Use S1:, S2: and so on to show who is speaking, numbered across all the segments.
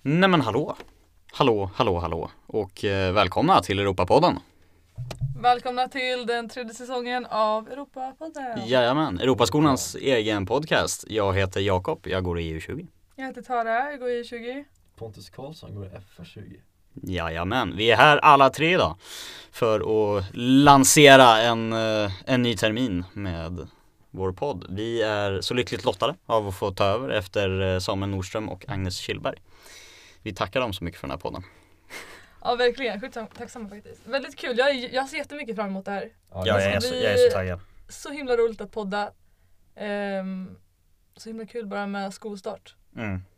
S1: Nej men hallå! Hallå, hallå, hallå och eh, välkomna till Europapodden!
S2: Välkomna till den tredje säsongen av Europapodden.
S1: Jajamän, Europaskolans egen podcast. Jag heter Jakob, jag går i E EU20.
S2: Jag heter Tara, jag går i 20.
S3: Pontus Karlsson går i FR20.
S1: Jajamän, vi är här alla tre idag för att lansera en, eh, en ny termin med vår podd. Vi är så lyckligt lottade av att få ta över efter eh, Samuel Nordström och Agnes Kjellberg. Vi tackar dem så mycket för den här podden.
S2: Ja verkligen, sjukt sam- tacksamma faktiskt. Väldigt kul, jag, är- jag ser jättemycket fram emot det här.
S1: Ja,
S2: jag är så- jag är så
S1: taggad.
S2: Så himla roligt att podda. Ehm, så himla kul bara med skolstart,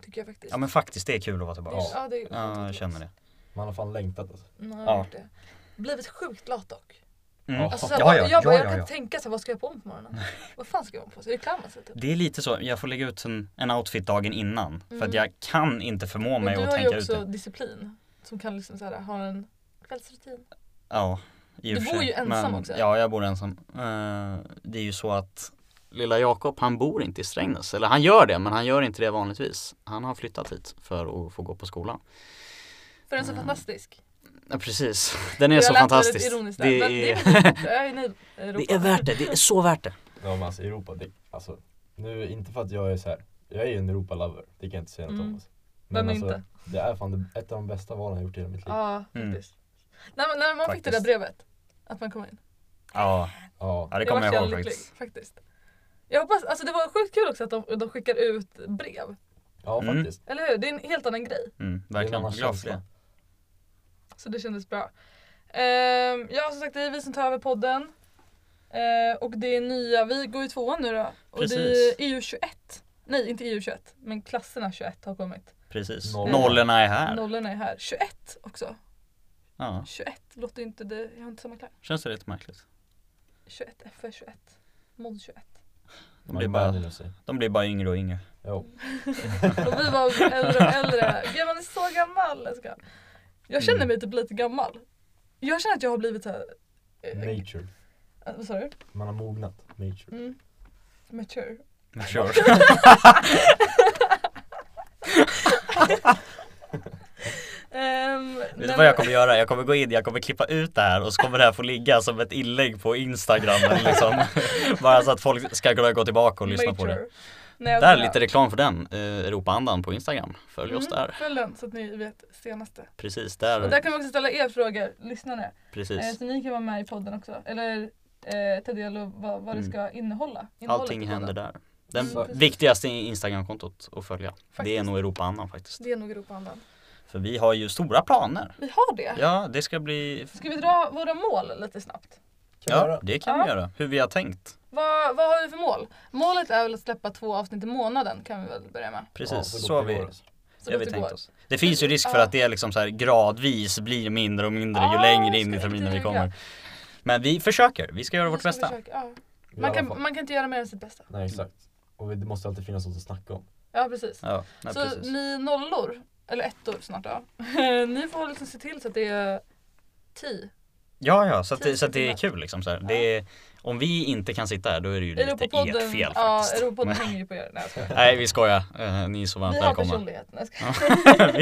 S2: tycker jag faktiskt.
S1: Mm. men faktiskt, det är kul att vara
S2: det, är- ja, det är
S1: Ja, jag känner det.
S3: Man har fan längtat alltså.
S2: Nej, jag
S1: Ja.
S2: har gjort det. Blivit sjukt lat dock.
S1: Mm.
S3: Ja.
S2: Alltså, såhär,
S1: Ja, ja,
S2: jag, bara,
S1: ja,
S2: jag
S1: ja,
S2: kan
S1: ja.
S2: inte tänka så här, vad ska jag på mig på morgonen? vad fan ska jag ha på mig? Ska jag klä mig så, typ?
S1: Det är lite så, jag får lägga ut en, en outfit dagen innan för
S2: Mm.
S1: att jag kan inte förmå
S2: Men
S1: mig
S2: du
S1: att
S2: har ju
S1: tänka ut
S2: också
S1: det.
S2: disciplin som kan liksom så här, ha en kvällsrutin.
S1: Ja, i och
S2: Du
S1: för
S2: bor
S1: sig.
S2: ju ensam
S1: Men-
S2: också.
S1: Ja, jag bor ensam. Eh, det är ju så att lilla Jakob, han bor inte i Strängnäs. Eller han gör det, men han gör inte det vanligtvis. Han har flyttat hit för att få gå på skolan.
S2: För den är så
S1: Mm.
S2: fantastisk.
S1: Ja, precis, den är så
S2: lät väldigt
S1: fantastisk.
S2: ironiskt där,
S1: det,
S2: men det
S1: är,
S2: är väl inte- jag är nöjd med Europa.
S1: det är värt det, det är så värt det.
S3: Ja men alltså Europa, det, alltså. Nu, inte för att jag är så här. jag är ju en Europa-lover. Det kan jag inte säga något
S2: Mm.
S3: om alltså.
S2: Vem är inte?
S3: det är fan det, ett av de bästa valen jag gjort i hela mitt liv.
S2: Ja,
S1: Mm.
S2: faktiskt. När, man- när man fick det där
S1: Faktiskt.
S2: brevet, att man kom in.
S1: Ja,
S3: Ja.
S1: ja det kommer jag
S2: vart
S1: ihåg
S2: jävligt
S1: faktiskt.
S2: lycklig, faktiskt. Jag hoppas, alltså det var sjukt kul också att de, de skickar ut brev.
S3: Ja
S1: Mm.
S3: faktiskt.
S2: Eller hur? Det är en helt annan grej.
S1: Mm,
S3: Det är en
S1: verkligen,
S3: annan
S1: jag är glad för
S3: känsla.
S1: det.
S2: Så det kändes bra. Ehm, ja som sagt det är vi som tar över podden. Ehm, och det är nya, vi går i tvåan nu då. Och
S1: Precis.
S2: det är EU21. Nej inte EU21 men klasserna 21 har kommit.
S1: Precis.
S3: Nollorna.
S1: Nollorna är här.
S2: Nollorna är här. 21 också.
S1: Ja,
S2: 21 låter ju inte, det, jag har inte samma klang.
S1: känns det rätt märkligt.
S2: 21, FR21, mod 21.
S1: De
S3: Man
S1: blir, bara,
S3: vänjer sig.
S1: de blir bara yngre och yngre.
S3: Jo.
S2: Och vi var äldre och äldre. Gud man är så gammal. Jag, ska. jag känner
S1: Mm.
S2: mig typ lite gammal. Jag känner att jag har blivit såhär... eh,
S3: Nature.
S2: eh, Vad sa du?
S3: Man har mognat. Nature.
S2: Mm. Mature.
S1: Men Sure.
S2: Ehm,
S1: Vet du
S2: nej,
S1: vad jag kommer göra? Jag kommer gå in, jag kommer klippa ut det här och så kommer det här få ligga som ett inlägg på Instagram eller liksom. Bara så att folk ska kunna gå tillbaka och lyssna på det.
S2: mature. Nej, jag
S1: Där är
S2: skojar.
S1: lite reklam för den, eh, Europaandan på Instagram. Följ oss
S2: Mm,
S1: där.
S2: Följ den så att ni vet senaste.
S1: Precis,
S2: Och
S1: där.
S2: där kan vi också ställa er frågor, lyssnare. Eh,
S1: Precis.
S2: så ni kan vara med i podden också. Eller eh, ta del av vad, vad det
S1: Mm.
S2: ska innehålla. Innehållet i
S1: Allting
S2: podden.
S1: händer där. Den
S2: Mm, precis.
S1: viktigaste Instagramkontot att följa. Det är
S2: Faktiskt.
S1: nog Europaandan faktiskt.
S2: Det är nog Europaandan.
S1: För vi har ju stora planer.
S2: Vi har det.
S1: Ja, det ska bli...
S2: Ska vi dra våra mål lite snabbt?
S3: Kan
S1: Ja,
S3: göra.
S1: det kan vi göra. Hur vi har tänkt.
S2: Vad, vad har vi för mål? Målet är väl att släppa två avsnitt i månaden kan vi väl börja med.
S3: Ja,
S1: Precis,
S3: gott
S1: så har
S3: det
S1: vi
S3: går, alltså.
S2: Så
S1: Det har vi
S2: gott det
S1: tänkt
S2: går.
S1: oss. Det finns ju risk för
S2: Ja.
S1: att det liksom så här gradvis blir mindre och mindre ju
S2: Ja,
S1: längre
S2: det
S1: in i
S2: Ah, ska-
S1: terminen
S2: det
S1: vi
S2: ska vi
S1: kommer. Men vi försöker, vi ska göra
S2: Vi
S1: vårt
S2: ska
S1: bästa.
S2: försöka, ja.
S3: I
S2: Man,
S3: alla
S2: kan,
S3: fall.
S2: man kan inte göra mer än sitt bästa.
S3: Nej exakt. Och vi- det måste alltid finnas något att snacka om.
S2: Ja precis.
S1: Ja, nej,
S2: så
S1: precis.
S2: ni nollor, eller ettor snart då. ni får liksom se till så att det är ti.
S1: ja, ja så, att det, så att det är
S2: Tusen
S1: kul liksom. Så här. Det är, om vi inte kan sitta här då är det ju lite ert fel
S2: ja,
S1: faktiskt.
S2: Europapodden hänger ju på er. Nej, jag skojar.
S1: Nej vi skojar, Eh, ni är så varmt
S2: Vi har
S1: välkomna.
S2: personlighet. Nej, jag skojar.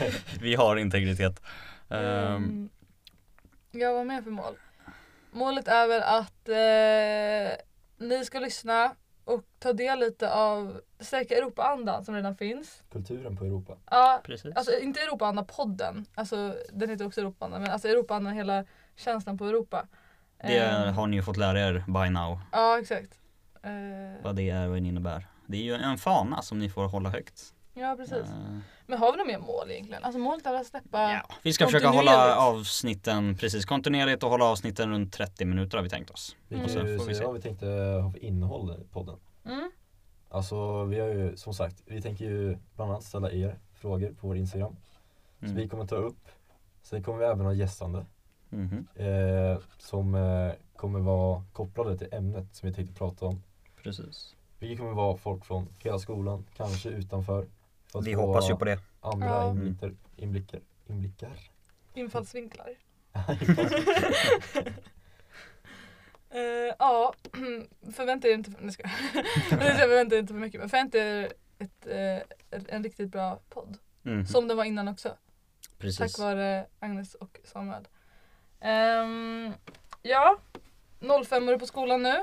S1: vi, vi har integritet. Ehm,
S2: Ehm, Ja, vad mer för mål? Målet är väl att eh, ni ska lyssna och ta del lite av Stärka Europa-andan som redan finns.
S3: Kulturen på Europa.
S2: Ja,
S1: precis.
S2: alltså inte Europa-andan-podden, alltså, den heter också Europa-andan, men alltså Europa-andan, hela känslan på Europa.
S1: det
S2: Ehm,
S1: har ni ju fått lära er by now,
S2: Ja, exakt. Eh,
S1: vad det är och vad det innebär. Det är ju en fana som ni får hålla högt.
S2: ja, precis.
S1: Eh,
S2: Men har vi några mer mål egentligen? Alltså målet är att släppa...
S1: Ja, vi ska försöka hålla
S2: Kontinuerligt.
S1: avsnitten precis kontinuerligt och hålla avsnitten runt 30 minuter har vi tänkt oss.
S3: Vi
S2: Mm.
S3: kan
S1: Så
S3: ju
S1: får vi se.
S3: säga vad vi tänkte ha för innehåll i podden.
S2: Mm.
S3: Alltså vi har ju som sagt, vi tänker ju bland annat ställa er frågor på vår Instagram.
S1: Mm.
S3: Så vi kommer ta upp. Sen kommer vi även ha gästande
S1: Mhm,
S3: eh, som eh, kommer vara kopplade till ämnet som vi tänkte prata om.
S1: Precis.
S3: Vilket kommer vara folk från hela skolan, kanske utanför. För att
S1: Vi
S3: få
S1: hoppas ju på det.
S3: Andra
S2: Ja.
S3: inblickar, inblickar, inblickar.
S2: Infallsvinklar. Eh, ja, förvänta er inte för, nej, ska jag. förvänta er inte för mycket men förvänta er ett, eh, ett, en riktigt bra podd.
S1: Mm.
S2: Som den var innan också.
S1: Precis.
S2: Tack vare Agnes och Samuel. Ehm, ja, 05 är på skolan nu.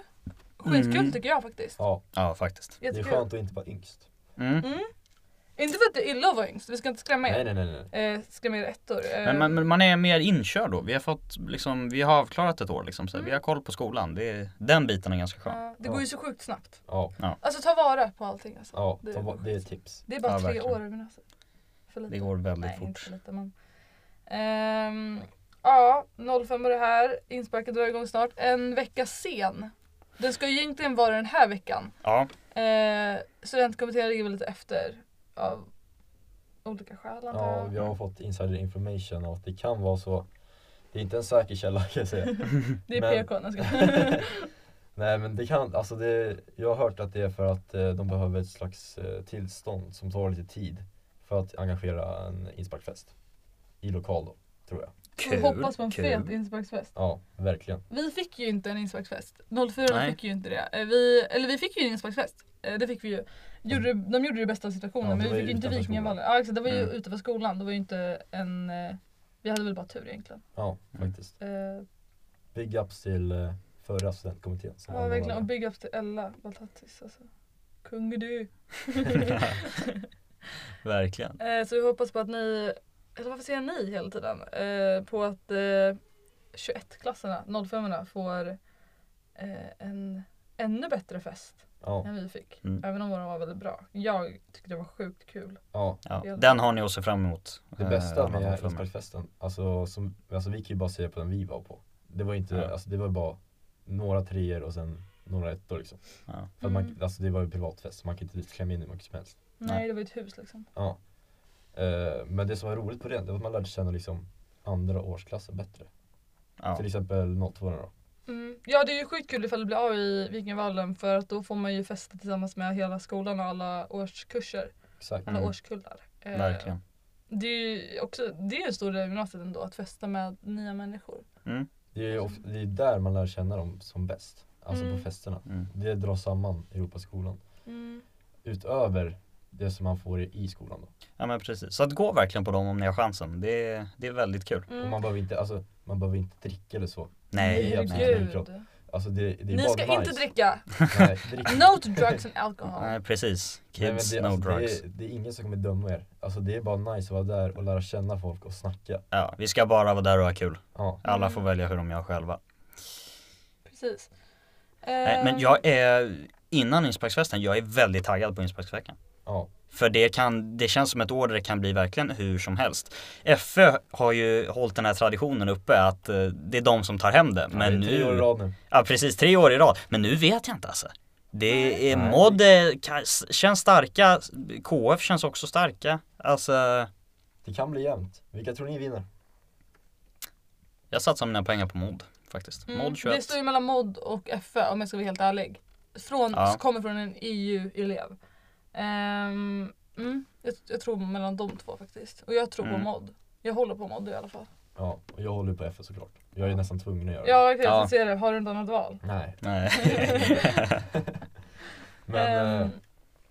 S2: Skitkul
S1: Mm.
S2: tycker jag faktiskt.
S3: Ja,
S1: Ja, faktiskt.
S3: det är
S2: Jättekul.
S3: skönt att inte vara yngst.
S1: Mm.
S2: Inte för att det är illa att vara yngst, vi ska inte skrämma
S3: Nej,
S2: er.
S3: nej, nej. nej.
S2: Eh, skrämma er ettor. Eh,
S1: Men man, men man är mer inkörd då. Vi har fått liksom, vi har avklarat ett år liksom. Så Vi har koll på skolan. Det är, den biten är ganska skön.
S2: Mm. ja, det går ju så sjukt snabbt.
S3: Ja,
S2: Alltså ta vara på allting alltså.
S3: ja
S2: Det-
S3: ta bort- det är ett tips.
S2: Det är bara
S1: Ja,
S2: tre
S1: verkligen.
S2: år över näsan. För lite.
S1: Det går väldigt
S2: Nej, inte
S1: fort.
S2: för lite men. Ehm, ja, 05 var det här. Insparket drar igång snart. En vecka sen. Den ska ju egentligen vara den här veckan.
S1: Ja,
S2: Eh, studentkommittén ligger väl lite efter av olika skäl antar
S3: Ja,
S2: jag.
S3: jag har fått insider information och det kan vara så. Det är inte en säker källa kan jag säga.
S2: Det är
S3: men-
S2: PK, jag skojar.
S3: Nej men det kan, alltså det, jag har hört att det är för att eh, de behöver ett slags eh, tillstånd som tar lite tid för att engagera en insparkfest. I lokal då, tror jag.
S2: Vi hoppas på en
S1: kul.
S2: fet insparksfest.
S3: Ja, verkligen.
S2: Vi fick ju inte en insparksfest. 04
S1: Nej.
S2: fick ju inte det. Eh, Vi, eller vi fick ju en insparksfest. Eh, Det fick vi ju. Gjorde, de gjorde det bästa av situationen
S3: Ja, det
S2: men vi
S3: var ju
S2: fick ju inte
S3: utanför
S2: Vikingavallen. Ja, exakt, det var ju
S1: Mm.
S2: utanför skolan. Det var ju inte en... eh, Vi hade väl bara tur egentligen.
S3: Ja,
S1: Mm.
S3: faktiskt.
S2: Eh,
S3: Big ups till eh, förra studentkommittén. som
S2: ja,
S3: anordnade
S2: verkligen. Och
S3: det.
S2: big ups till Ella Baltattis alltså. Kung är du.
S1: Verkligen.
S2: Eh, så vi hoppas på att ni, eller varför säger jag ni hela tiden? Eh, på att eh, 21-klasserna, 05-orna får eh, en ännu bättre fest
S3: Ja,
S2: än vi fick.
S1: Mm.
S2: Även om våra var väldigt bra. Jag tyckte det var sjukt kul.
S3: ja.
S1: Ja, den har ni att se fram emot.
S3: Det
S1: Eh, alla
S3: bästa
S1: dagar
S3: med
S1: framöver.
S3: insparksfesten, alltså, som, alltså vi kan ju bara säga på den vi var på. Det var inte,
S1: Ja.
S3: alltså det var bara några treor och sen några ettor liksom.
S1: Ja.
S3: För att man,
S2: Mm.
S3: alltså det var ju privatfest, man kan inte klämma in hur mycket som helst.
S2: Nej,
S1: Nej.
S2: det var ju ett hus liksom.
S3: Ja. Eh, men det som var roligt på den, det var att man lärde känna liksom andra årsklasser bättre.
S1: Ja.
S3: Till exempel nåttvårdarna då.
S2: Mm. Ja, det är ju sjukt kul ifall det blir av i Vikingavallen för att då får man ju festa tillsammans med hela skolan och alla årskurser.
S3: Exakt.
S2: Alla
S1: Mm.
S2: årskullar. Eh,
S1: Verkligen.
S2: Det är ju också, det är ju en stor del av gymnasiet ändå, att festa med nya människor.
S3: Det är ju of- det är där man lär känna dem som bäst. Alltså
S2: Mm.
S3: på festerna.
S1: Mm.
S3: Det drar samman Europaskolan.
S2: Mm.
S3: Utöver det som man får i i skolan då.
S1: Ja men precis. Så att gå verkligen på dem om ni har chansen. Det är, det är väldigt kul.
S2: Mm.
S3: Och man behöver inte, alltså, man behöver inte dricka eller så.
S1: Nej,
S3: Nej,
S1: nej,
S3: absolut.
S1: nej.
S2: Herregud.
S3: Alltså det, det är
S2: Ni
S3: bara
S2: ska
S3: nice.
S2: inte dricka!
S3: Nej, drick.
S2: No to drugs and alcohol.
S1: nej precis.
S3: Nej, men
S1: Kids,
S3: det,
S1: no
S3: alltså,
S1: drugs.
S3: Det är, det är ingen som kommer döma er. Alltså det är bara nice att vara där och lära känna folk och snacka.
S1: Ja, vi ska bara vara där och ha kul.
S3: Ja.
S1: Alla
S2: Mm.
S1: får välja hur de gör själva.
S2: Precis.
S1: Nej,
S3: Ehm.
S1: men jag är, innan insparksfesten, jag är väldigt taggad på insparksveckan.
S3: Ja.
S1: För det, kan, det känns som ett år där det kan bli verkligen hur som helst. FÖ har ju hållit den här traditionen uppe att eh, det är de som tar hem det. Men
S3: det är tre år i
S1: nu,
S3: rad nu.
S1: ja precis tre år i rad. Men nu vet jag inte alltså. Det är
S3: Nej.
S1: Mod eh, ka- känns starka, KF känns också starka. Alltså,
S3: Det kan bli jämnt. Vilka tror ni vinner?
S1: jag satsar mina pengar på Mod faktiskt.
S2: Mm,
S1: Mod
S2: det
S1: 21.
S2: står ju mellan mod och FÖ om jag ska vara helt ärlig. Från,
S1: Ja.
S2: Kommer från en EU-elev. Ehm, mm, jag, jag tror mellan de två faktiskt. Och jag tror på
S1: Mm.
S2: mod. Jag håller på mod i alla fall.
S3: Ja, och jag håller på FS såklart. Jag är nästan tvungen att göra det.
S2: Ja, okej,
S1: Ja.
S2: jag ser det. Har du inte annat val?
S3: Nej.
S1: Nej.
S3: Men
S2: Ehm,
S3: eh,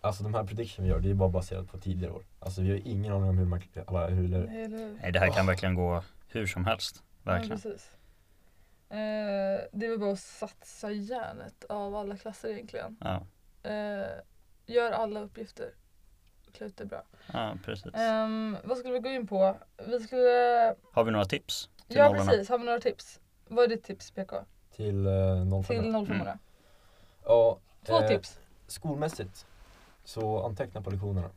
S3: alltså de här prediction vi gör, det är bara baserat på tidigare år. Alltså vi har ju ingen aning om hur man alla hur
S2: nej, eller hur?
S1: Nej, det här kan verkligen gå hur som helst.
S2: Ja,
S1: Verkligen.
S2: precis. Eh, det är väl bara att satsa järnet av alla klasser egentligen.
S1: Ja,
S2: Eh, gör alla uppgifter. Klä ut det bra.
S1: ja precis.
S2: Ehm, vad skulle vi gå in på? Vi skulle...
S1: Har vi några tips? till
S2: Ja
S1: nollorna?
S2: precis, har vi några tips? Vad är ditt tips PK?
S3: till eh, 05.
S2: Till 05
S1: Mm.
S3: Ja,
S2: Två
S3: eh,
S2: tips.
S3: Skolmässigt, så anteckna på lektionerna.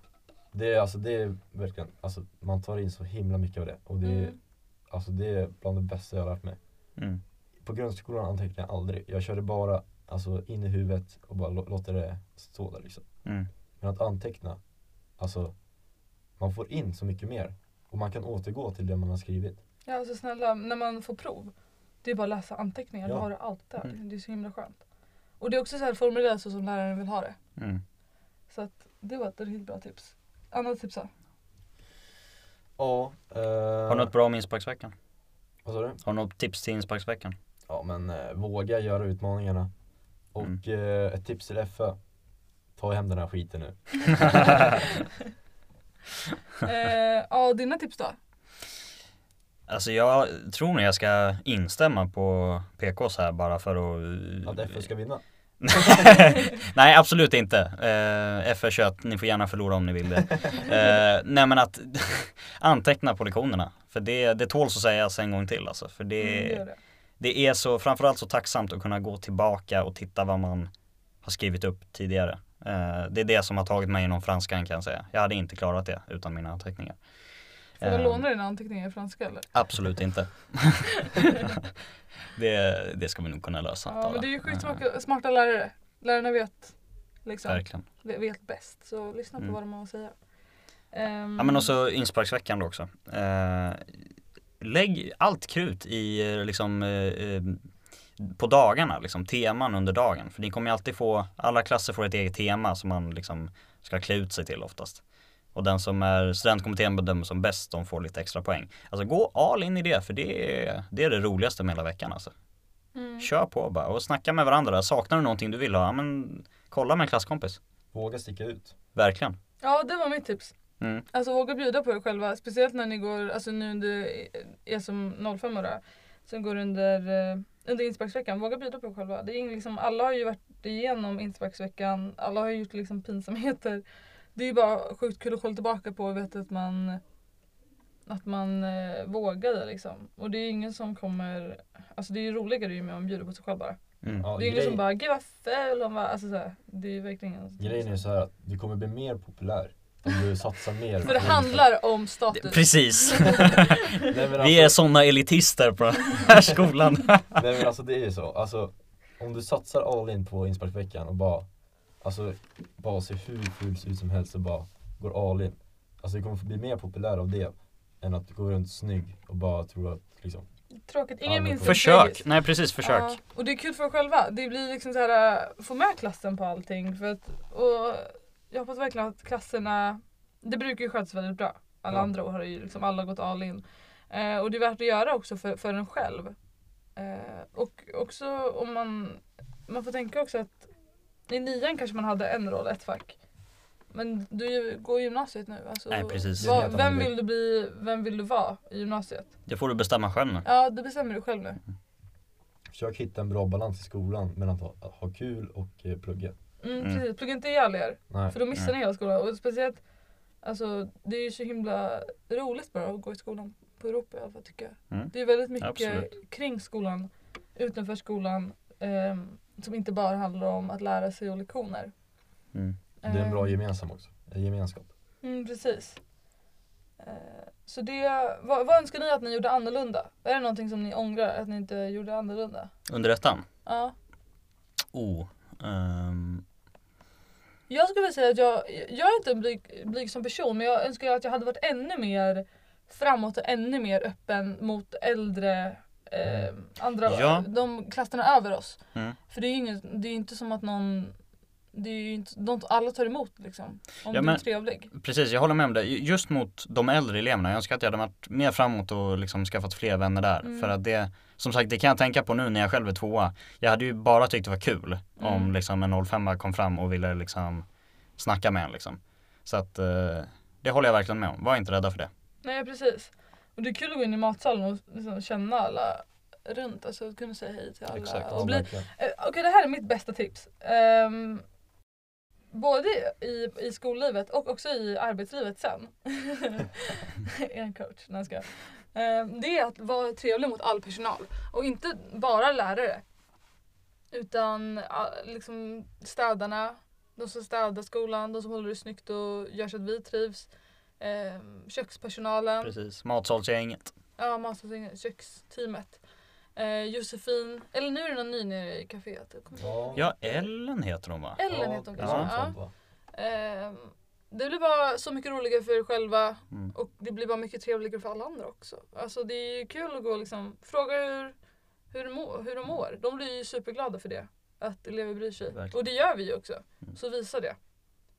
S3: Det är alltså det är verkligen, alltså man tar in så himla mycket av det. Och det är,
S2: Mm.
S3: alltså, det är bland det bästa jag har lärt mig.
S1: Mm.
S3: På grundskolan antecknade jag aldrig. Jag körde bara alltså, in i huvudet och bara lå- låter det stå där liksom.
S1: Mm.
S3: Men att anteckna, alltså man får in så mycket mer. Och man kan återgå till det man har skrivit.
S2: Ja alltså snälla, när man får prov. Det är bara att läsa anteckningar, då
S3: Ja.
S2: har du allt där.
S1: Mm.
S2: Det är så himla skönt. Och det är också så här formulerat så som läraren vill ha det.
S1: Mm.
S2: Så att det var ett riktigt bra tips. Annat tips då?
S3: Ja. Eh,
S1: Har du något bra om insparksveckan?
S3: Vad sa du?
S1: Har du något tips till insparksveckan?
S3: Ja men eh, våga göra utmaningarna. Och
S1: Mm.
S3: eh, ett tips till FÖ. Ta hem den här skiten nu.
S2: Eh, ja, dina tips då?
S1: Alltså jag tror nog jag ska instämma på PKs här bara för att...
S3: Att FF ska vinna.
S1: Nej absolut inte. Eh, FF21, ni får gärna förlora om ni vill det. Eh, nej men att anteckna på lektionerna. För det, det tåls att sägas en gång till alltså. För det,
S2: Mm, gör det.
S1: det är så, framförallt så tacksamt att kunna gå tillbaka och titta vad man har skrivit upp tidigare. Eh, det är det som har tagit mig inom franskan kan jag säga. Jag hade inte klarat det utan mina anteckningar.
S2: Får jag
S1: Eh,
S2: låna dina anteckningar i franska eller?
S1: Absolut inte. det, det ska vi nog kunna lösa.
S2: Ja, men det är ju
S1: Tara.
S2: skitsmarta smarta lärare. Lärarna vet, liksom,
S1: Eh, Verkligen.
S2: vet bäst. Så lyssna på
S1: Mm.
S2: vad de har att säga. Ehm,
S1: Ja men alltså- och så insparksveckan då också. Eh, lägg allt krut i eh, liksom eh, eh, på dagarna, liksom teman under dagen. För ni kommer ju alltid få, alla klasser får ett eget tema som man liksom ska klä ut sig till oftast. Och den som är studentkommittén bedömer som bäst, de får lite extra poäng. Alltså gå all in i det, för det är det, är det roligaste med hela veckan alltså.
S2: mm.
S1: Kör på bara och snacka med varandra. Saknar du någonting du vill ha? Ja, men kolla med en klasskompis.
S3: Våga sticka ut.
S1: Verkligen.
S2: Ja, det var mitt tips.
S1: Mm.
S2: Alltså våga bjuda på er själva. Speciellt när ni går, alltså nu under er som 05 då, som går under, eh, under insparksveckan. Våga bjuda på er själva. Det är ingen liksom, alla har ju varit igenom insparksveckan. Alla har ju gjort liksom pinsamheter. Det är ju bara sjukt kul att kolla tillbaka på och veta att man att man eh, vågade liksom. Och det är ju ingen som kommer, alltså det är ju roligare ju med om man bjuder på sig själv bara.
S1: Mm.
S3: Ja,
S2: Det är ju ingen som
S3: grej,
S2: bara 'Gud vad ful hon var' alltså såhär. Det är ju verkligen ingen som-
S3: grejen är så här att du kommer bli mer populär om du satsar mer.
S2: För det handlar om status.
S1: Precis.
S3: Nej men
S1: Vi är
S3: alltså,
S1: sådana elitister på den här skolan.
S3: nej, men alltså det är ju så. Alltså, om du satsar all in på insparksveckan och bara, alltså, bara ser hur fult ut som helst och bara går all in. Alltså du kommer få bli mer populär av det än att du går runt snygg och bara tror att liksom,
S2: Tråkigt,
S3: Ja,
S2: ingen
S3: men
S2: minns
S1: Försök. Nej precis, försök.
S2: Ja, och det är kul för er själva. Det blir liksom så här, äh, få med klassen på allting. För att, och jag hoppas verkligen att klasserna, det brukar ju skötas väldigt bra. Alla
S3: Ja.
S2: andra år har ju liksom alla gått all in. Eh, och det är värt att göra också för, för en själv. Eh, och också om man, man får tänka också att i nian kanske man hade en roll, ett fack. Men du ju- går gymnasiet nu. Alltså,
S1: Nej, precis.
S3: Det är en
S2: Vad,
S3: helt
S2: vem
S3: annan
S2: vill du bli, vem vill du vara i gymnasiet?
S1: Det får du bestämma själv nu.
S2: Ja, det bestämmer du själv nu.
S3: försök hitta en bra balans i skolan mellan att ha, att ha kul och eh, plugga.
S2: Mm,
S1: Mm.
S2: precis. Plugga inte ihjäl er.
S3: Nej.
S2: För då missar ni hela skolan. Och speciellt, alltså, det är ju så himla roligt bara att gå i skolan på Europa i alla fall tycker jag.
S1: Mm.
S2: Det är väldigt mycket
S1: Absolut.
S2: kring skolan, utanför skolan, ehm, som inte bara handlar om att lära sig och lektioner.
S1: Mm.
S3: Det är en bra
S2: Ehm,
S3: gemensam också, en gemenskap.
S2: mm, Precis. Eh, så det, vad, vad önskar ni att ni gjorde annorlunda? Är det någonting som ni ångrar att ni inte gjorde annorlunda?
S1: Under ettan?
S2: Ja.
S1: Oh. ehm,
S2: Jag skulle vilja säga att jag, jag är inte en blyg, blyg som person men jag önskar ju att jag hade varit ännu mer framåt och ännu mer öppen mot äldre eh, andra,
S1: Ja.
S2: de klasserna över oss.
S1: Mm.
S2: För det är ju inget, det är ju inte som att någon, det är ju inte, de, alla tar emot liksom. Om
S1: Ja,
S2: du är
S1: men-
S2: trevlig.
S1: Precis, jag håller med om det. Ju- Just mot de äldre eleverna. Jag önskar att jag hade varit mer framåt och liksom skaffat fler vänner där.
S2: Mm.
S1: För att det, som sagt, det kan jag tänka på nu när jag själv är tvåa. Jag hade ju bara tyckt det var kul om
S2: Mm.
S1: liksom en 05 kom fram och ville liksom snacka med en liksom. Så att eh, det håller jag verkligen med om. Var inte rädda för det.
S2: Nej precis. Och det är kul att gå in i matsalen och liksom känna alla runt, alltså att kunna säga hej till alla.
S1: Exakt.
S2: Och
S3: Ja,
S2: bli,
S3: verkligen.
S2: Eh, Okej, det här är mitt bästa tips. Ehm, både i, i skollivet och också i arbetslivet sen. en coach, när jag ska. det är att vara trevlig mot all personal och inte bara lärare. Utan ah, liksom städarna, de som städar skolan, de som håller det snyggt och gör så att vi trivs. Ehm, kökspersonalen.
S1: Precis. Matsalsgänget.
S2: Ja, matsalen, köksteamet. Eh, Josefin, eller nu är det någon ny nere i kaféet. Jag kommer inte ihåg.
S1: Ja, Ellen heter hon va?
S2: Ellen heter hon kanske.
S1: ja.
S2: Ja.
S3: sånt, va?
S2: Ehm, det blir bara så mycket roligare för er själva
S1: Mm.
S2: och det blir bara mycket trevligare för alla andra också. Alltså det är ju kul att gå och liksom, fråga hur, hur, de mår, hur de mår. De blir ju superglada för det. Att elever bryr sig.
S1: Verkligen.
S2: Och det gör vi ju också.
S1: Mm.
S2: Så visa det.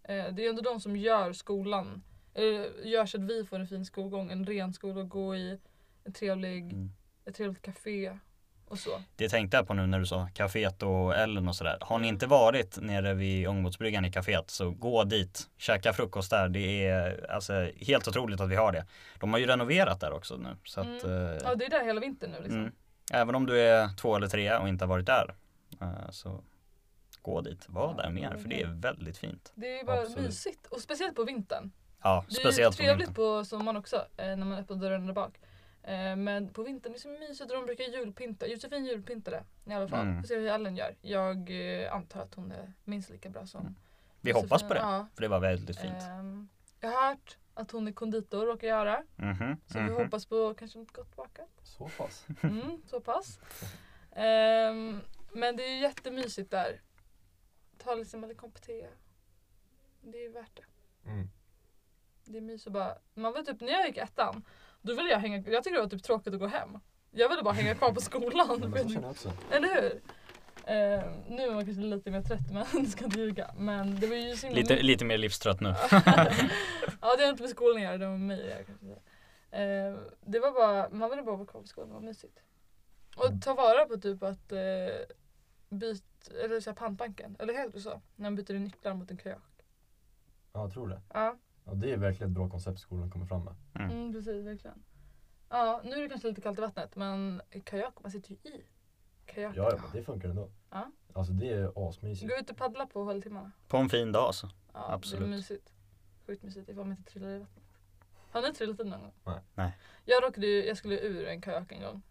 S2: Eh, det är ju ändå de som gör skolan, eller gör så att vi får en fin skolgång, en ren skola att gå i, en trevlig,
S1: Mm.
S2: ett trevligt café och så.
S1: Det tänkte jag på nu när du sa kaféet och Ellen och sådär. Har ni inte varit nere vid Ångbåtsbryggan i kaféet så gå dit, käka frukost där. Det är alltså helt otroligt att vi har det. De har ju renoverat där också nu. Så att, eh,
S2: Mm. Ja det är där hela vintern nu liksom.
S1: mm. Även om du är två eller tre och inte har varit där eh, så gå dit, var där mer för det är väldigt fint.
S2: Det är ju bara
S3: Absolut.
S2: mysigt och speciellt på vintern.
S1: Ja,
S2: Det
S1: speciellt
S2: är
S1: på
S2: ju trevligt
S1: vintern.
S2: på sommaren också eh, när man öppnar dörren där bak. Eh, Men på vintern är det så mysigt och de brukar julpynta. Josefin julpyntade i alla fall.
S1: Mm.
S2: Får se hur Ellen gör. Jag eh, antar att hon är minst lika bra som
S1: Mm. Vi hoppas på
S2: Josefin.
S1: det,
S2: Ja.
S1: för det var väldigt fint.
S2: Ehm, Jag har hört att hon är konditor råkar göra.
S1: Mhm,
S2: Eh, Så
S1: mhm.
S2: vi hoppas på kanske något gott bakat.
S3: Så pass.
S2: Mm, så pass. Ehm, men det är ju jättemysigt där. Ta lite malikomp te. Det är ju värt det.
S3: Mm.
S2: Det är mys och bara, man var typ när jag gick i ettan, då ville jag hänga, jag tyckte det var typ tråkigt att gå hem. Jag ville bara hänga kvar på skolan.
S3: Men
S2: för jag tyckte-
S3: så känner Mm, jag också.
S2: Eller hur? Ehm, nu är man kanske lite mer trött men ska inte ljuga. Men det var ju så himla
S1: Lite, lite mer livstrött nu.
S2: Ja det har inte med skolan att göra, det var med mig jag kanske säga. Eh, Det var bara, man ville bara vara kvar på skolan, det var mysigt. Och ta vara på typ att eh, byt, eller så här pantbanken, eller helt du sa, när man byter in nycklar mot en kajak.
S3: Ja, jag tror det.
S2: Ja,
S3: Ja, det är verkligen ett bra koncept skolan kommer fram med.
S2: mm, precis verkligen. Ja, nu är det kanske lite kallt i vattnet men kajak, man sitter ju i kajak.
S3: Ja, ja men det funkar ändå.
S2: Ja.
S3: Alltså det är asmysigt.
S2: Gå ut och paddla på håltimmarna.
S1: På en fin dag så.
S2: Ja,
S1: Absolut.
S2: Det är mysigt. Sjukt mysigt ifall man inte trillar i vattnet. Har ni trillat i någon gång?
S3: Nej.
S1: Nej.
S2: Jag råkade ju, jag skulle ur en kajak en gång.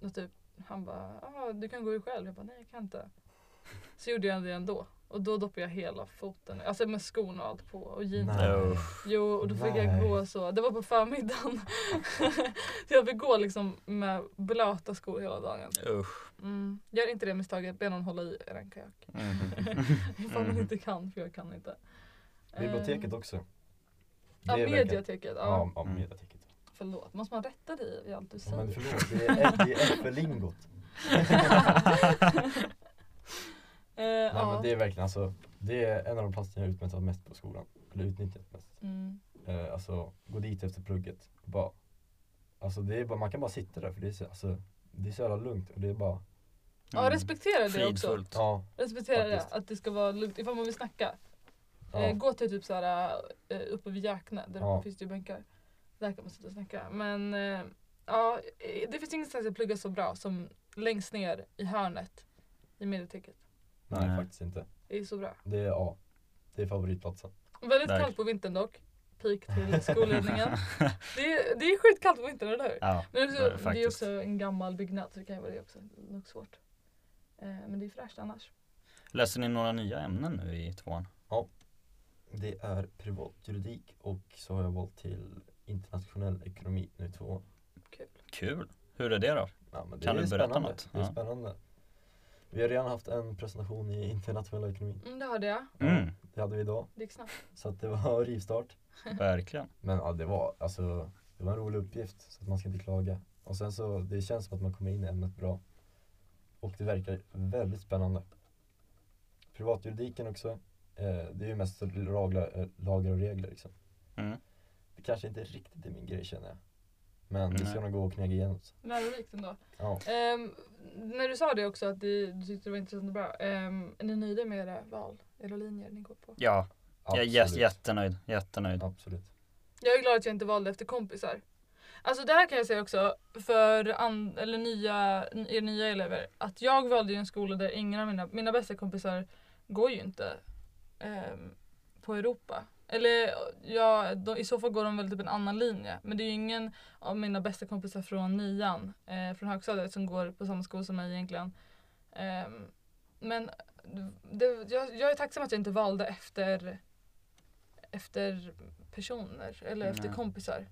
S2: Och typ, han bara, ah, du kan gå ur själv. Jag bara, nej jag kan inte. Så gjorde jag det ändå. Och då doppade jag hela foten, alltså med skon och allt på och jeansen.
S1: Nej.
S2: Jo, och då fick jag
S3: Nej.
S2: gå så. Det var på förmiddagen. så jag fick gå liksom med blöta skor hela dagen.
S1: Usch.
S2: Mm. Gör inte det misstaget, be någon hålla i er en kajak.
S1: Mhm.
S2: Ifall man
S1: Mm.
S2: inte kan, för jag kan inte.
S3: Eh, Biblioteket också.
S2: Ja,
S3: Det är verkligen-
S2: mediateket. Ja.
S3: Ja, ja
S1: Mm.
S3: mediateket.
S2: Förlåt, måste man rätta dig i allt du
S3: Ja,
S2: säger?
S3: men förlåt, det är, det är äppellingot.
S2: Eh,
S3: Nej
S2: ja.
S3: men det är verkligen alltså, det är en av de platserna jag har utnyttjat mest på skolan. Eller utnyttjat mest.
S2: Mm.
S3: Eh, alltså, gå dit efter plugget. och Bara, alltså det är bara, man kan bara sitta där för det är så, alltså, det är så jävla lugnt och det är bara,
S2: ja, respektera det också.
S1: Fridfullt.
S3: ja.
S2: Respektera det,
S3: Mm. Faktiskt.
S2: att det ska vara lugnt. Ifall man vill snacka, eh,
S3: ja.
S2: gå till typ såhär eh, uppe vid Jäkne, där
S3: Ja.
S2: uppe finns det ju bänkar. Där kan man sitta och snacka. Men eh, ja, eh, det finns ingenstans jag pluggar så bra som längst ner i hörnet i mediateket.
S3: Nej,
S1: Nej.
S3: faktiskt inte.
S2: Det är så bra.
S3: Det är, ja, det är favoritplatsen.
S2: Väldigt
S1: Verkligen.
S2: kallt på vintern dock. Pik till skolledningen. det, är, det är skitkallt på vintern, eller hur?
S1: Ja.
S2: Men det,
S1: Eh,
S2: är också, det är
S1: faktiskt.
S2: också en gammal byggnad så det kan ju vara det också. Nog svårt. Eh, men det är fräscht annars.
S1: Läser ni några nya ämnen nu i tvåan?
S3: Det är privatjuridik och så har jag valt till internationell ekonomi nu i två år.
S2: Kul.
S1: Kul! Hur är det då?
S3: Ja, men det
S1: Kan
S3: är
S1: du berätta
S3: spännande.
S1: något?
S3: Det är
S1: Ja.
S3: spännande. Vi har redan haft en presentation i internationella ekonomi.
S2: Mm, det hörde jag.
S1: Mm,
S3: Ja, det hade vi idag.
S2: Det gick snabbt.
S3: Så att det var rivstart.
S1: Mm. verkligen.
S3: Men ja, det var alltså, det var en rolig uppgift så att man ska inte klaga. Och sen så, det känns som att man kommer in i ämnet bra. Och det verkar väldigt spännande. Privatjuridiken också, eh, det är ju mest lagla- eh, lagar och regler liksom.
S1: Mm.
S3: Det kanske inte riktigt är min grej känner jag. Men det ska
S1: Nej.
S3: nog gå och knäga igenom. så.
S2: Lärorikt ändå.
S3: Ja.
S2: Ehm, när du sa det också att det, du tyckte det var intressant och bra. Um, är ni nöjda med era val? Era linjer ni går på?
S1: Ja, jag är jä-
S3: absolut.
S1: jättenöjd. Jättenöjd.
S3: Absolut.
S2: Jag är glad att jag inte valde efter kompisar. Alltså det här kan jag säga också för an- eller nya, er nya elever. Att jag valde ju en skola där ingen av mina, mina bästa kompisar går ju inte ehm, på Europa. Eller ja, de, i så fall går de väl typ en annan linje. Men det är ju ingen av mina bästa kompisar från nian, eh, från högstadiet, som går på samma skola som mig egentligen. Ehm, men det, jag, jag är tacksam att jag inte valde efter, efter personer eller efter
S1: Nej.
S2: kompisar.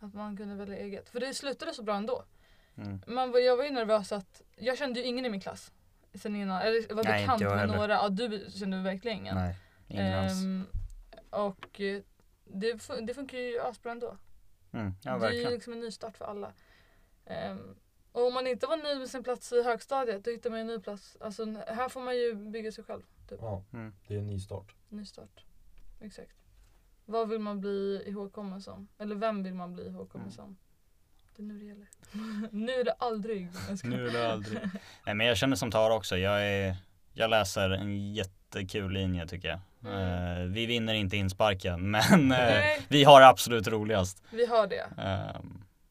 S2: Att man kunde välja eget. För det slutade så bra ändå.
S1: Mm.
S2: Man, var- jag var ju nervös att jag kände ju ingen i min klass. Sen innan, eller var
S1: Nej,
S2: bekant
S1: inte jag
S2: med
S1: heller.
S2: några. Ja, du kände verkligen ingen.
S1: Nej, ingen alls.
S2: Ehm, och eh, det, fun- det funkar ju asbra ändå.
S1: Mm. Ja,
S2: det är ju
S1: verkligen.
S2: liksom en ny start för alla. Ehm, och om man inte var nöjd med sin plats i högstadiet då hittar man ju en ny plats. Alltså n- här får man ju bygga sig själv.
S3: Ja,
S1: Mm.
S3: det är en ny start.
S2: Ny start. Exakt. Vad vill man bli ihågkommen som? Eller vem vill man bli ihågkommen
S1: Mm.
S2: som? Det är nu det gäller. nu är det aldrig. Jag skojar.
S1: Nu eller aldrig. Nej men jag känner som Tara också. Jag, är, jag läser en jättekul linje tycker jag.
S2: Mm.
S1: Eh, vi vinner inte insparken men eh,
S2: Nej,
S1: vi har absolut roligast.
S2: vi har det.
S1: Eh,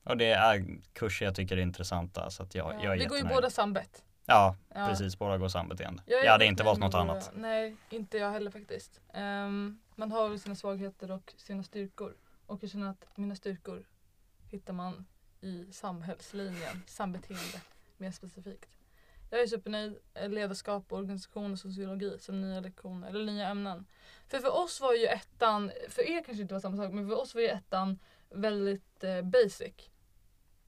S1: och det är kurser jag tycker är intressanta så att jag, jag är
S2: vi går ju
S1: jättenöjd.
S2: båda sambet.
S1: Ja,
S2: Ja.
S1: precis. Båda går sambeteende.
S2: Jag är
S1: Jag hade
S2: helt
S1: inte
S2: nöjd
S1: valt
S2: med
S1: något
S2: våra-
S1: annat.
S2: Nej, inte jag heller faktiskt. Ehm, man har väl sina svagheter och sina styrkor. Och jag känner att mina styrkor hittar man i samhällslinjen, sambeteende mer specifikt. Jag är supernöjd, eh, ledarskap, organisation och sociologi som nya lektioner, eller nya ämnen. För för oss var ju ettan, för er kanske inte var samma sak, men för oss var ju ettan väldigt eh, basic.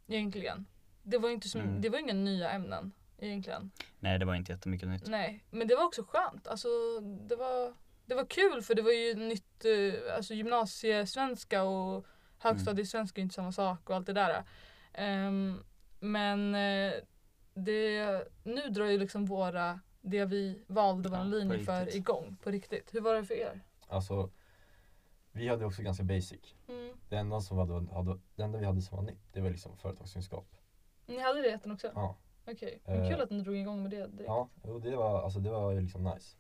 S2: Egentligen. Det var ju inte som,
S1: Mm.
S2: det var inga nya ämnen egentligen.
S1: Nej, det var inte jättemycket nytt.
S2: Nej, men det var också skönt. Alltså, det, var, det var kul för det var ju nytt, eh, alltså gymnasiesvenska och högstadiesvenska är inte samma sak och allt det där. Ehm, men eh, det, nu drar ju liksom våra, det vi valde vår
S1: Ja, på
S2: linje för
S1: riktigt.
S2: igång på riktigt. Hur var det för er?
S3: Alltså, vi hade också ganska basic.
S2: Mm.
S3: Det enda, som hade, hade, det enda vi hade som var nytt, det var liksom företagskunskap.
S2: Ni hade det i ettan också?
S3: Ja,
S2: Okej, men
S3: Eh,
S2: kul att ni drog igång med det direkt.
S3: ja och det var, alltså, det var ju liksom nice.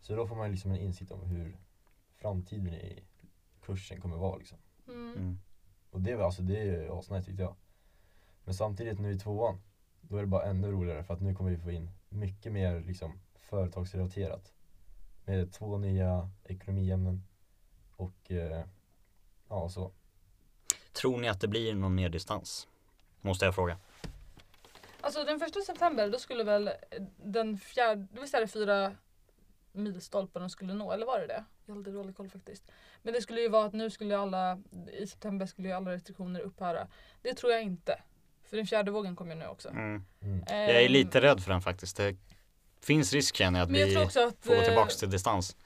S3: Så då får man ju liksom en insikt om hur framtiden i kursen kommer vara liksom.
S2: Mm.
S1: Mm.
S3: Och det var alltså, det är ju asnice tyckte jag. Men samtidigt nu i tvåan, då är det bara ännu roligare för att nu kommer vi få in mycket mer liksom företagsrelaterat. Med två nya ekonomiämnen och eh, ja så.
S1: Tror ni att det blir någon mer distans? Måste jag fråga.
S2: Alltså den första september då skulle väl eh, den fjärde, det vill säga de fyra milstolpar de skulle nå, eller var det det? Jag har lite dålig koll faktiskt. Men det skulle ju vara att nu skulle alla, i september skulle ju alla restriktioner upphöra. Det tror jag inte. För den fjärde vågen kommer ju nu också. Ehm,
S1: Mm.
S3: Mm.
S1: Jag är lite rädd för den faktiskt. Det finns risk känner jag att
S2: Men jag
S1: vi
S2: tror också att,
S1: får gå
S2: eh,
S1: tillbaks till distans.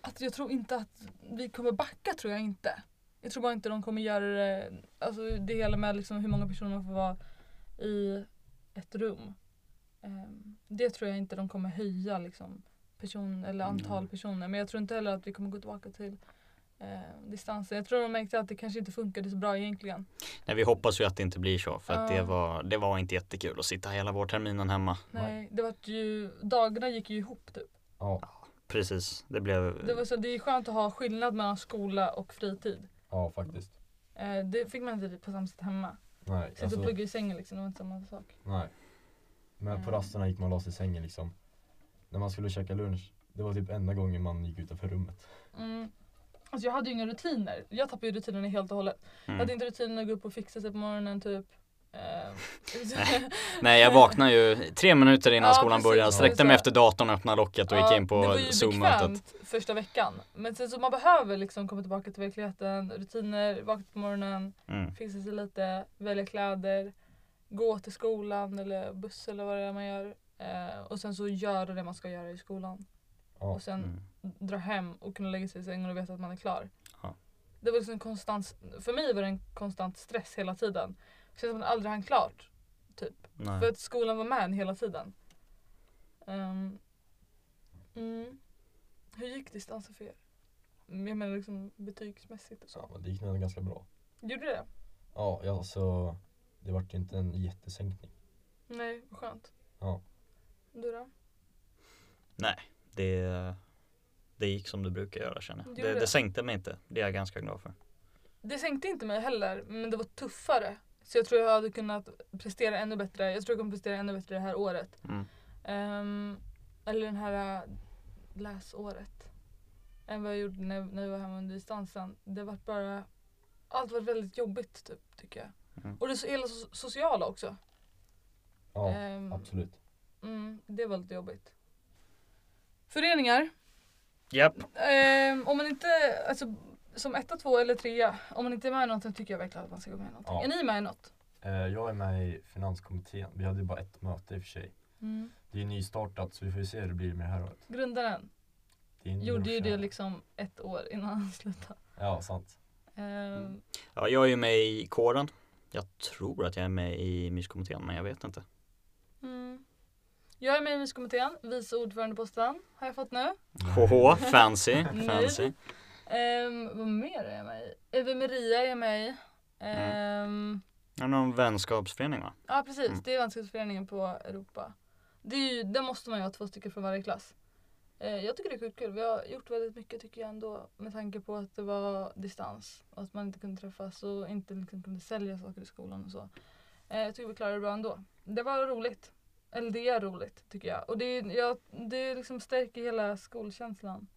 S2: att jag tror inte att vi kommer backa tror jag inte. Jag tror bara inte de kommer göra det, alltså det hela med liksom hur många personer man får vara i ett rum. Ehm, Det tror jag inte de kommer höja liksom person eller antal
S1: Mm.
S2: personer. Men jag tror inte heller att vi kommer gå tillbaka till eh, distansen. Jag tror de märkte att det kanske inte funkade så bra egentligen.
S1: Nej, vi hoppas ju att det inte blir så för att
S2: Ja.
S1: det, var, det var inte jättekul att sitta hela vårterminen hemma.
S2: Nej, det var ju, dagarna gick ju ihop typ.
S3: Ja,
S1: Precis, det blev...
S2: Det, var så, det är skönt att ha skillnad mellan skola och fritid.
S3: ja faktiskt.
S2: Eh, Det fick man inte på samma sätt hemma.
S3: Nej, alltså,
S2: Sitta
S1: Alltså-
S2: och plugga i sängen liksom, det var inte samma sak.
S3: nej. Men på
S2: Mm.
S3: rasterna gick man och la sig i sängen liksom. När man skulle käka lunch, det var typ enda gången man gick utanför rummet.
S2: Mm. Alltså jag hade ju inga rutiner. Jag tappade ju rutinerna helt och hållet. Jag
S1: Mm.
S2: hade inte rutinen att gå upp och fixa sig på morgonen typ. Eh,
S1: Nej, jag vaknade ju tre minuter innan
S2: Ja,
S1: skolan
S2: precis.
S1: började, sträckte
S2: Ja.
S1: mig efter datorn, öppnade locket och gick
S2: ja,
S1: in
S2: det var
S1: på
S2: ju
S1: Zoom-mötet.
S2: bekvämt första veckan. Men sen så man behöver liksom komma tillbaka till verkligheten. Rutiner, vakna på morgonen,
S1: Mm.
S2: fixa sig lite, välja kläder, gå till skolan eller buss eller vad det är man gör. Eh, och sen så göra det man ska göra i skolan.
S3: Ja,
S2: Och sen
S1: Mm.
S2: dra hem och kunna lägga sig i sängen och veta att man är klar.
S1: Ja.
S2: Det var liksom en konstant, för mig var det en konstant stress hela tiden. Det känns som att man aldrig hann klart.
S1: Nej.
S2: För att skolan var med en hela tiden. Ehm, mm. Hur gick distansen för er? Mm, Jag menar liksom betygsmässigt och så.
S3: ja men det gick nog ändå ganska bra.
S2: Gjorde det?
S3: Ja, ja, alltså det vart ju inte en jättesänkning.
S2: Nej, vad skönt.
S3: Ja.
S2: Du då?
S1: det, det gick som det brukar göra känner jag.
S2: Det gjorde
S1: Det, det
S2: det.
S1: sänkte mig inte. Det är jag ganska glad för.
S2: Det sänkte inte mig heller, men det var tuffare. Så jag tror jag hade kunnat prestera ännu bättre. Jag tror jag kommer prestera ännu bättre det här året.
S1: Mm.
S2: Ehm, eller den här äh, läsåret. Än vad jag gjorde när, när jag var hemma under distansen. Det var bara... Allt var väldigt jobbigt typ, tycker jag.
S1: Mm.
S2: Och det så- hela so- sociala också.
S3: Ja,
S2: Ehm,
S3: absolut.
S2: mm, det var lite jobbigt. Föreningar.
S1: Japp.
S2: Ehm, om man inte... Alltså, som etta, två eller trea. Om man inte är med i någonting tycker jag verkligen att man ska gå med i någonting.
S3: Ja.
S2: Är ni med i något?
S3: Eh, jag är med i finanskommittén. Vi hade ju bara ett möte i och för sig.
S2: Mm.
S3: Det är ju nystartat så vi får ju se hur det blir med det här året.
S2: Grundaren
S3: Det är en
S2: gjorde ju
S3: brorsa.
S2: det liksom ett år innan han slutade.
S3: Ja, sant. Mm.
S2: Ehm,
S1: Ja, jag är ju med i kåren. Jag tror att jag är med i myskommittén men jag vet inte.
S2: Mm. Jag är med i myskommittén, vice ordförandeposten har jag fått nu.
S1: HH, fancy, fancy.
S2: Ehm, vad mer är jag med i? Eve Maria är jag med i. Ehm,
S1: Ja, Är det någon vänskapsförening va?
S2: Ja precis,
S1: Mm.
S2: det är vänskapsföreningen på Europa. Det är ju, där måste man ju ha två stycken från varje klass. Eh, jag tycker det är sjukt kul. Vi har gjort väldigt mycket tycker jag ändå med tanke på att det var distans och att man inte kunde träffas och inte liksom kunde sälja saker i skolan och så. Eh, jag tycker vi klarade det bra ändå. Det var roligt. Eller det är roligt tycker jag. Och det, är- ja, det liksom stärker hela skolkänslan.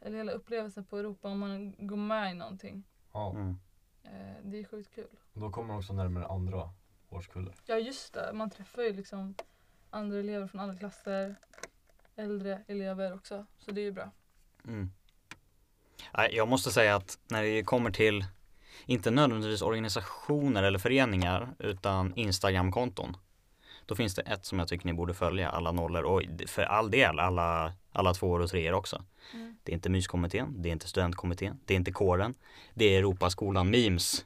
S2: Eller hela upplevelsen på Europa om man går med i någonting.
S3: Ja.
S1: Mm.
S2: Eh, det är sjukt kul.
S3: Då kommer man också närmare andra årskullar.
S2: Ja just det, man träffar ju liksom andra elever från alla klasser. Äldre elever också, så det är ju bra.
S1: Mm. Nej, Jag måste säga att när det kommer till inte nödvändigtvis organisationer eller föreningar utan Instagramkonton. Då finns det ett som jag tycker ni borde följa, alla nollor och för all del alla, alla tvåor och treor också.
S2: Mm.
S1: Det är inte myskommittén, det är inte studentkommittén, det är inte kåren, det är Europaskolan Memes.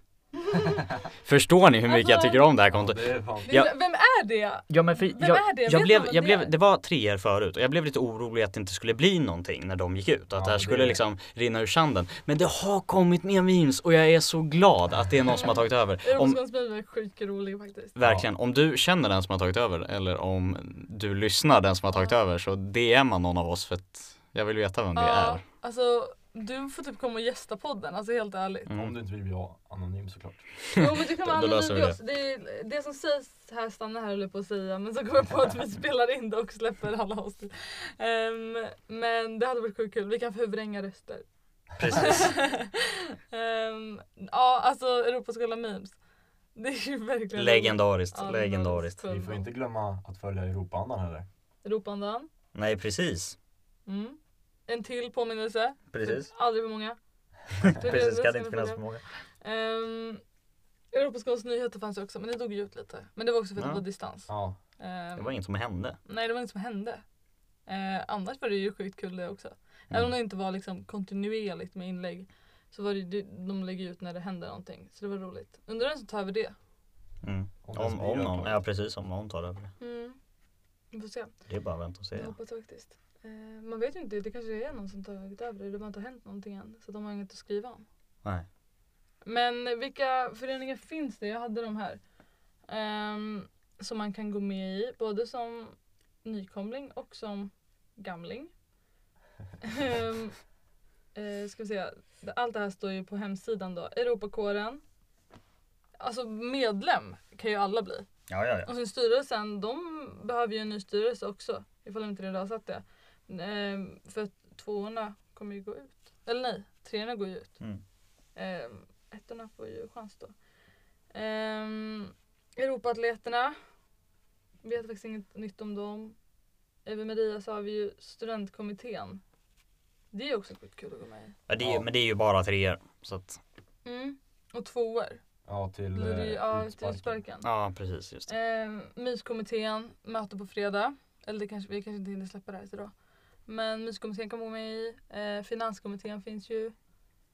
S1: Förstår ni hur mycket jag tycker om det här
S3: Ja,
S1: kontot?
S3: det är fan.
S1: Ja.
S2: Vem är det?
S1: Ja men för
S2: Vem
S1: jag,
S2: är det?
S1: jag
S2: Vet
S1: blev,
S2: man vad
S1: jag
S2: det är?
S1: blev, det var treor förut och jag blev lite orolig att det inte skulle bli någonting när de gick ut. Att
S3: Ja,
S1: det här
S3: det-
S1: skulle liksom rinna ur sanden. Men det har kommit mer memes och jag är så glad att det är någon som har tagit över. Om,
S2: Romskans bil är sjukt rolig faktiskt.
S1: verkligen, om du känner den som har tagit över eller om du lyssnar den som har tagit
S2: Ja.
S1: över så DMa någon av oss för att jag vill veta vem det
S2: Ja,
S1: är.
S2: alltså du får typ komma och gästa podden, alltså helt ärligt.
S1: Mm.
S3: Om du inte vill vara anonym såklart.
S2: Jo men du kan vara
S1: Då löser vi
S2: anonym det. Det, är- det som sägs här stannar här höll jag på att säga men så kommer jag på att vi spelar in det och släpper alla avsnitt. Ehm, men det hade varit sjukt kul, vi kan förvränga röster.
S1: Precis.
S2: Ehm, ja, alltså Europaskolan Memes. Det är ju verkligen...
S1: Legendariskt,
S2: Ja, det var
S1: legendariskt.
S2: kul.
S3: Vi får inte glömma att följa Europaandan heller.
S2: Europaandan.
S1: Nej precis.
S2: Mm. En till påminnelse.
S1: Precis.
S2: Aldrig för många.
S1: Precis, kan det inte finnas för många.
S2: Um, Europaskolans nyheter fanns ju också men det dog ju ut lite. Men det var också för att
S1: Ja.
S2: det var distans.
S3: Ja,
S2: Ehm,
S1: Det var inget som hände.
S2: Nej det var inget som hände. Eh, annars var det ju sjukt kul det också.
S1: Mm.
S2: Även om det inte var liksom kontinuerligt med inlägg så var det ju, de lägger ut när det händer någonting. Så det var roligt. Undrar vem som tar över det.
S1: Mm.
S3: det ens
S1: Om,
S3: blir
S1: om någon,
S3: klart.
S1: ja precis om någon tar över det.
S2: Mm. Vi får se.
S1: Det är bara att vänta och se.
S2: Jag hoppas faktiskt. Eh, man vet ju inte, det kanske är någon som tagit över det. Det har inte hänt någonting än. Så de har inget att skriva om.
S1: Nej.
S2: Men vilka föreningar finns det? Jag hade de här. Ehm, som man kan gå med i. Både som nykomling och som gamling. Ehm, eh, ska vi se. Allt det här står ju på hemsidan då. Europakåren. Alltså medlem kan ju alla bli.
S1: Ja, ja, ja.
S2: Och sen Alltså, styrelsen, de behöver ju en ny styrelse också. Ifall de inte redan har satt det. Ehm, för att tvåorna kommer ju gå ut. Eller nej, treorna går ju ut.
S1: Mm.
S2: Ehm, ettorna får ju chans då. Um, Europaatleterna. Vet faktiskt inget nytt om dem. Över Maria så har vi ju studentkommittén. Det är ju också sjukt kul att gå med i.
S1: Ja, det är,
S3: Ja.
S1: Men det är ju bara treor. Så att,
S2: Mm. Och tvåor.
S3: ja till
S2: Blir det ju,
S3: eh,
S2: ja, till
S3: utsparken.
S2: utsparken.
S1: ja precis, just det.
S2: Eh, myskommittén, möte på fredag. Eller det kanske, vi kanske inte hinner släppa det här till då. Men myskommittén kommer med i. Eh, finanskommittén finns ju.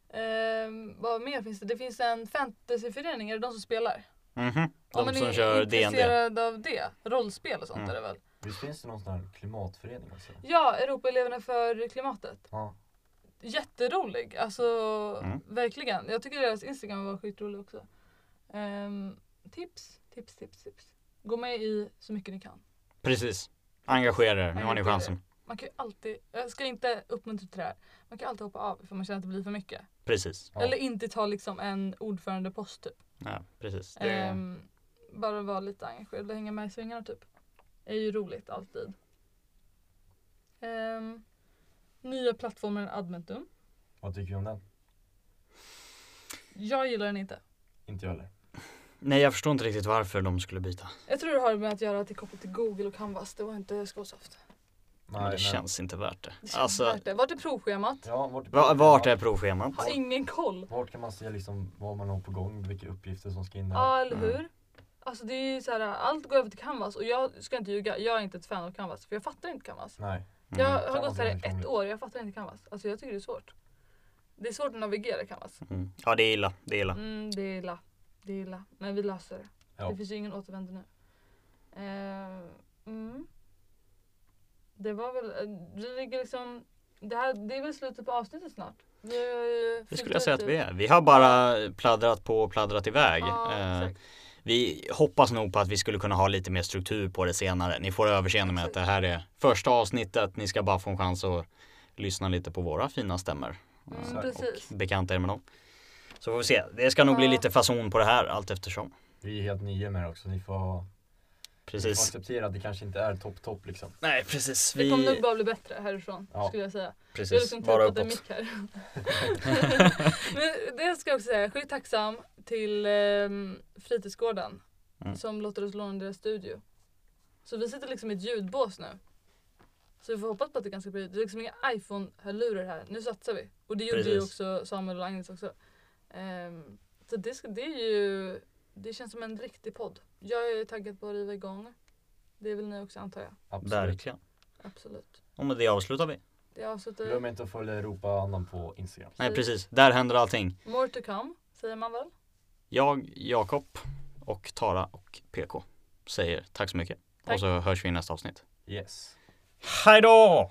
S2: Eh, vad mer finns det? Det finns en fantasyförening, är det de som spelar?
S1: Mhm.
S2: Om
S1: De
S2: man
S1: som
S2: är
S1: kör DND.
S2: intresserad av det, rollspel och sånt
S1: Mm.
S2: är det väl?
S3: Visst finns det någon sån här klimatförening också?
S2: Ja, Europaeleverna för klimatet.
S3: Ja.
S2: Jätterolig, alltså
S1: Mm.
S2: verkligen. Jag tycker deras Instagram var skitrolig också. Ehm, tips, tips, tips, tips. Gå med i så mycket ni kan.
S1: Precis. Engagera er, nu har ni
S2: Engagera er.
S1: chansen.
S2: Man kan ju alltid, jag ska inte uppmuntra till det här, man kan ju alltid hoppa av för man känner att det blir för mycket.
S1: Precis.
S3: Ja.
S2: Eller inte ta liksom en ordförandepost typ.
S1: Ja, precis. Det,
S2: Ehm, bara vara lite engagerad och hänga med i svängarna typ. är ju roligt alltid. Ehm, nya plattformen Adventum.
S3: Vad tycker vi om den?
S2: Jag gillar den inte.
S3: Inte jag heller.
S1: Nej, jag förstår inte riktigt varför de skulle byta.
S2: Jag tror det har med att göra att det är kopplat till Google och Canvas, det var inte Skålsoft.
S1: Men det känns inte värt det.
S2: Det känns
S1: Alltså,
S2: värt Alltså, det. Vart är provschemat?
S3: Ja, vart,
S1: va- vart är provschemat? Mm,
S2: Har ingen koll.
S3: Vart kan man se liksom vad man har på gång, vilka uppgifter som ska in
S2: Ja,
S3: där?
S2: eller hur? Alltså det är ju så här, allt går över till Canvas och jag ska inte ljuga, jag är inte ett fan av Canvas för jag fattar inte Canvas.
S3: Nej.
S2: Jag
S1: Mm.
S2: har
S3: Canvas
S2: gått här
S3: är
S2: i
S3: väldigt
S2: ett
S3: krångligt.
S2: år, jag fattar inte Canvas. Alltså jag tycker det är svårt. Det är svårt att navigera i Canvas.
S1: Mm. Ja, det är illa. Det är illa.
S2: Mm, det är illa. Det är illa. Men vi löser det.
S3: Ja.
S2: Det finns ju ingen återvändo nu. Eh, mm. Det var väl, eh, vi ligger liksom, det, här, det är väl slutet på avsnittet snart. Vi har ju
S1: Det
S2: fyllt
S1: skulle jag
S2: ut
S1: säga att
S2: det.
S1: vi är. Vi har bara pladdrat på och pladdrat iväg.
S2: Ja,
S1: Eh,
S2: exakt.
S1: Vi hoppas nog på att vi skulle kunna ha lite mer struktur på det senare. Ni får överseende med att det här är första avsnittet. Ni ska bara få en chans att lyssna lite på våra fina stämmor.
S2: Mm,
S1: eh,
S2: precis.
S1: Och bekanta er med dem. Så får vi se. Det ska nog bli
S2: Ja.
S1: lite fason på det här allt eftersom.
S3: Vi är helt nya med det också, ni får, ha- ni får
S1: Precis.
S3: acceptera att det kanske inte är topp topp liksom.
S1: Nej, precis.
S2: typ. Det kommer nog
S1: Vi...
S2: bara bli bättre härifrån
S3: Ja.
S2: skulle jag säga. Jag har
S1: Precis.
S2: liksom
S1: Bara
S2: tappat en
S1: uppåt.
S2: mick här. Men det ska jag också säga, sjukt tacksam till ehm, Fritidsgården
S1: Mm.
S2: som låter oss låna deras studio. Så vi sitter liksom i ett ljudbås nu. Så vi får hoppas på att det är ganska bra ljud. Det är liksom inga iPhone-hörlurar här. Nu satsar vi. Och det gjorde ju
S1: Precis.
S2: också Samuel och Agnes också. Ehm, så det, ska, det är ju, det känns som en riktig podd. Jag är taggad på att riva igång. Det är väl ni också antar jag.
S3: Absolut.
S1: Verkligen.
S2: Absolut.
S1: Och med det avslutar vi.
S2: Det avslutar
S3: Glöm inte att följa Europa annan på Instagram.
S1: Nej,
S2: Precis.
S1: precis. Där händer allting.
S2: More to come, säger man väl?
S1: Jag, Jakob och Tara och PK säger tack så mycket.
S2: Tack.
S1: Och så hörs vi i nästa avsnitt.
S3: Yes.
S1: Hej då!